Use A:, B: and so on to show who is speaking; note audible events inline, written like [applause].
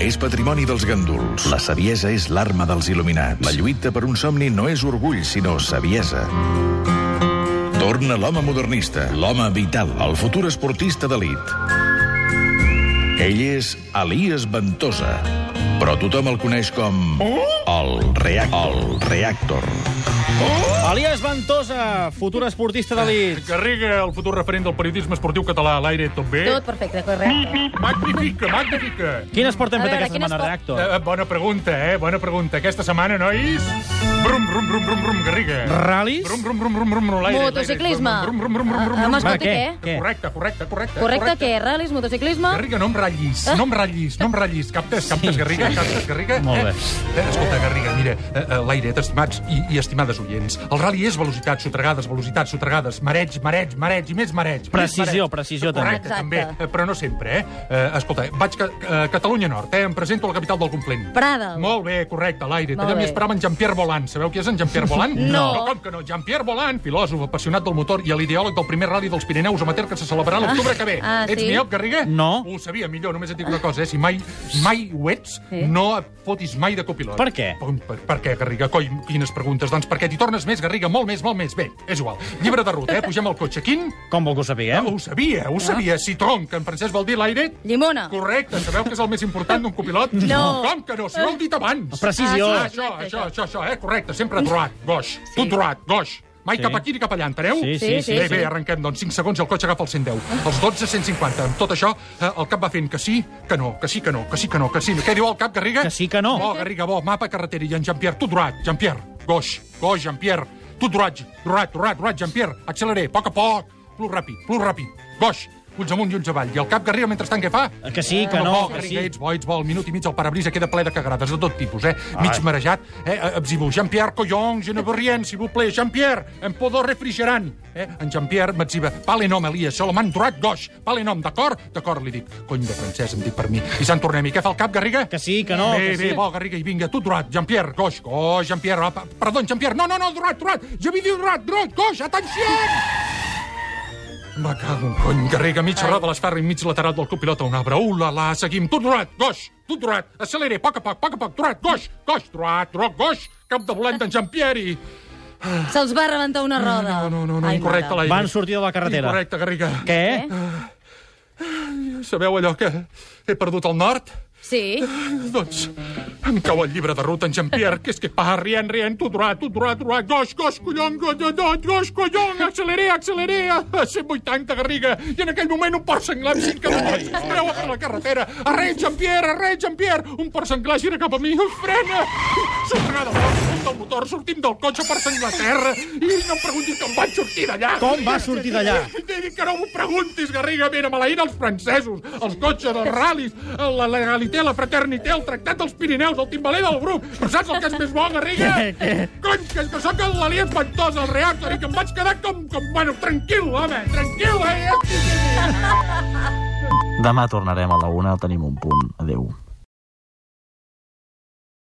A: és patrimoni dels ganduls. La saviesa és l'arma dels il·luminats. La lluita per un somni no és orgull, sinó saviesa. Torna l'home modernista, l'home vital, el futur esportista d'elit. Ell és Elias Ventosa, però tothom el coneix com... El, reac el Reactor.
B: Elias Ventosa, futur esportista d'elit.
C: Garriga, el futur referent del periodisme esportiu català, a l'aire, tot bé?
D: Tot perfecte, correcte.
C: Magnífica, magnífica.
B: Quin esport hem
D: A
B: fet
D: veure,
B: aquesta
D: quin
B: setmana,
D: esport?
B: Reactor?
C: Eh, bona pregunta, eh? Bona pregunta. Aquesta setmana, nois... Brum, brum, brum, brum, brum, Garriga.
B: Ral·lis?
C: Brum, brum, brum, brum, brum, brum, l'aire.
D: Motociclisme.
C: l'aire. Brum, brum, brum, brum, brum,
D: Ah,
C: brum, brum.
D: m'escolti,
B: Va, què?
D: què?
B: Què?
C: Correcte, correcte, correcte.
D: Correcte, què? Ral·lis, motociclisme?
C: Garriga, no em ratllis, no em ratllis, no em ratllis. Captes, captes, Garriga, captes, Garriga.
B: Molt bé.
C: Eh, eh, escolta, Garriga, mira, eh, eh, l'airet, estimats i, i estimades oients, el rali és velocitat, sotregades, velocitat, sotregades, mareig, mareig, mareig i més mareig. més
B: Precisió,
C: mareig.
B: precisió,
C: Correcte, també.
D: també. Exacte.
C: Eh, Però no sempre, eh? eh escolta, vaig a eh, Catalunya Nord, eh? Em presento a la capital del complement.
D: Prada.
C: Molt bé, correcte, l'airet.
D: Molt
C: Allà m'hi
D: bé.
C: esperava en Jean-Pierre Volant. Sabeu qui és
B: [laughs]
C: en Jean-Pierre Volant?
D: No.
C: no. Com que no? Jean-Pierre Volant, filòsof, apassionat del motor i l'ideòleg del primer rali dels Pirineus amateur que se celebrarà l'octubre que ve.
D: Ah,
C: Ets
D: sí?
C: miop, Garriga?
B: No.
C: Ho sabia, millor, només et dic una cosa, eh? Si mai, mai ho ets,
D: Sí.
C: no et fotis mai de copilot.
B: Per què?
C: Per, per, per què, Garriga? Coi, quines preguntes. Doncs perquè t'hi tornes més, Garriga, molt més, molt més. Bé, és igual. Llibre de ruta, eh? Pugem al cotxe. Quin?
B: Com vol que ho
C: Eh?
B: sapiguem?
C: Ho sabia, ho sabia. Citron, que en francès vol dir l'aire.
D: Llimona.
C: Correcte, sabeu que és el més important d'un copilot?
D: No.
C: Com que no? Si ho heu dit abans.
B: Precisió.
C: Ah,
D: Ah, sí.
C: això, això, això, això, eh? Correcte, sempre droat, goix. Sí. Tu droat, goix. Mai
B: Sí.
C: sí. cap aquí ni cap allà, enteneu?
B: Sí,
D: sí, sí,
C: Bé,
D: sí.
C: bé, arrenquem, doncs, 5 segons i el cotxe agafa el 110. Els 12, 150. Amb tot això, eh, el cap va fent que sí, que no, que sí, que no, que sí, que no, que sí. Què diu el cap, Garriga?
B: Que sí, que no.
C: Bo, Garriga, bo, mapa, carretera, i en Jean-Pierre, tu droat, Jean-Pierre, goix, goix, Jean-Pierre, tu droat, droat, droat, droat, Jean-Pierre, acceleré, a poc a poc, plus ràpid, plus ràpid, goix, ulls amunt i ulls avall. I el cap, Garriga, mentrestant, què fa?
B: Que sí, que no,
C: bo,
B: que
C: Garriga,
B: sí.
C: ets bo, ets bo, el minut i mig el parabrisa queda ple de cagarades de tot tipus, eh? Mig
B: Ai.
C: marejat, eh? Abzibu, Jean-Pierre, collons, je ne veux rien, si vous plaît, Jean-Pierre, em podo refrigerant. Eh? En Jean-Pierre m'atziba, pale nom, Elias, Solomon, droit, goix, pale nom, d'acord? D'acord, li dic. Cony de francès, em dic per mi. I Sant Tornem, i què fa el cap, Garriga?
B: Que sí, que no,
C: Bé,
B: que
C: bé,
B: sí.
C: bo, Garriga, i vinga, tu, droit, Jean-Pierre, goix, goix, Jean-Pierre, apa, perdó, Jean-Pierre, no, no, no, droit, droit, jo vi diu droit, droit, goix, atenció! Me cago en cony, Garriga, mig roda de l'esfarra i mig lateral del copilot a un arbre. Uh, la, la, seguim. Tu, droat, goix, tu, droat, acceleré, poc a poc, poc a poc, droat, goix, goix, droat, droat, goix, cap de volant d'en Jean-Pierre i...
D: Se'ls va rebentar una roda.
C: No, no, no, no incorrecte
D: mare.
C: l'aire.
B: Van sortir de la carretera.
C: Incorrecte, Garriga.
B: Què?
D: Eh?
C: Sabeu allò que he perdut al nord?
D: Sí.
C: Doncs em cau el llibre de ruta en Jean-Pierre, que és que pa, rien, rien, tu droit, tu droit, droit, goix, goix, collon, goix, goix, goix, collon, acceleré, acceleré, a 180, Garriga, i en aquell moment un port senglar amb 5 cavalls es treua per la carretera. Arre, Jean-Pierre, arre, Jean-Pierre, un port senglar gira cap a mi, frena, s'atragada el motor, surt del motor, sortim del cotxe per senglar a terra, i no em preguntis com vaig sortir d'allà.
B: Com va sortir d'allà?
C: T'he dit que no m'ho preguntis, Garriga. Mira, maleïna els francesos, els cotxes, els ral·lis, la legalité, la fraternitat, el tractat dels Pirineus, el timbaler del grup. Però saps el que és més bo, Garriga?
B: [laughs] Què, què?
C: Cony, que, que sóc l'Aliens Ventós, el reactor, i que em vaig quedar com... com bueno, tranquil, home, tranquil, eh?
E: Demà tornarem a la una, tenim un punt. Adéu.